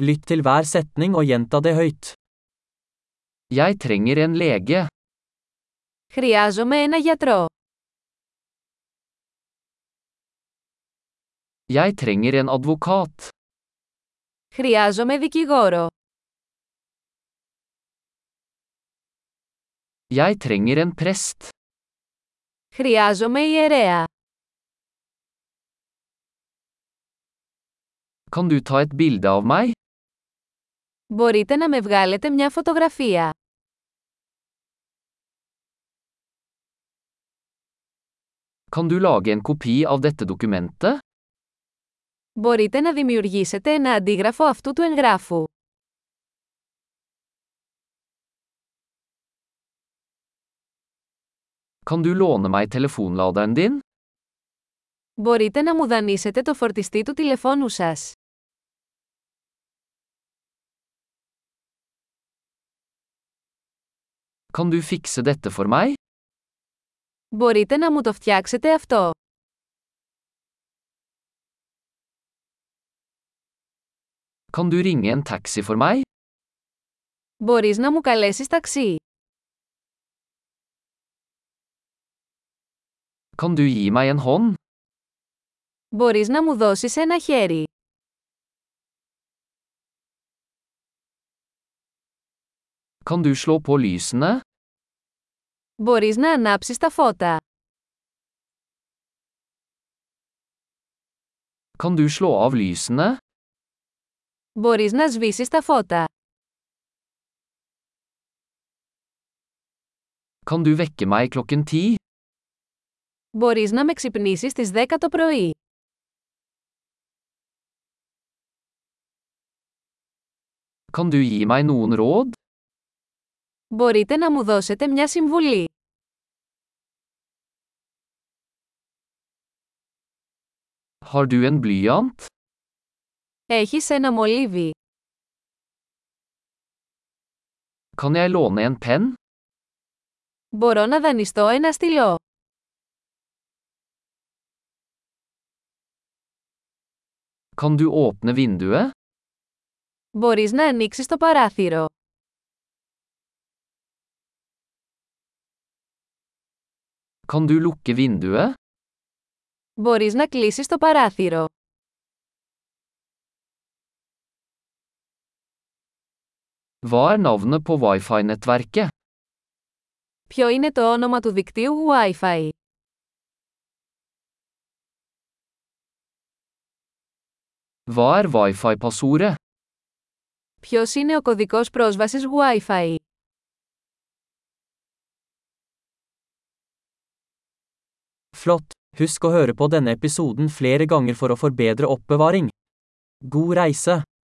Lytt til hver setning og gjenta det høyt. Jeg trenger en lege. Χρειάζομαι ένα γιατρό. Jeg trenger en advokat. Χρειάζομαι δικηγόρο. Jeg trenger en prest. Χρειάζομαι ιερέα. Kan du ta et bilde av meg? Μπορείτε να με βγάλετε μια φωτογραφία. Kan du lage en kopi av dette dokumentet? Μπορείτε να δημιουργήσετε ένα αντίγραφο αυτού του εγγράφου. Kan du låne meg telefonladeren din? Μπορείτε να μου δανείσετε το φορτιστή του τηλεφώνου σας. Kan du fikse dette for meg? Μπορείτε να μου το φτιάξετε αυτό. Kan du ringe en taxi for meg? Μπορείς να μου καλέσεις ταξί. Kan du gi meg en hånd? Μπορείς να μου δώσεις ένα χέρι. Kan du slå på lysene? Μπορείς να ανάψεις τα φώτα. Kan du slå av lysene? Μπορείς να σβήσεις τα φώτα. Kan du vekke meg klokken ti? Μπορείς να με ξυπνήσεις στις 10 το πρωί. Kan du gi meg noen råd? Μπορείτε να μου δώσετε μια συμβουλή. Har du en blyant? Έχεις ένα μολύβι. Kan jeg låne en penn? Μπορώ να δανειστώ ένα στυλό. Kan du åpne vinduet? Μπορείς να ανοίξεις το παράθυρο. Kan du lukke vinduet? Μπορείς να κλείσεις το παράθυρο. Hva er navnet på wifi-nettverket? Ποιο είναι το όνομα του δικτύου Wi-Fi. Hva er wifi-passordet? Ποιος είναι ο κωδικός πρόσβασης Wi-Fi. Flott! Husk å høre på denne episoden flere ganger for å forbedre oppbevaring. God reise!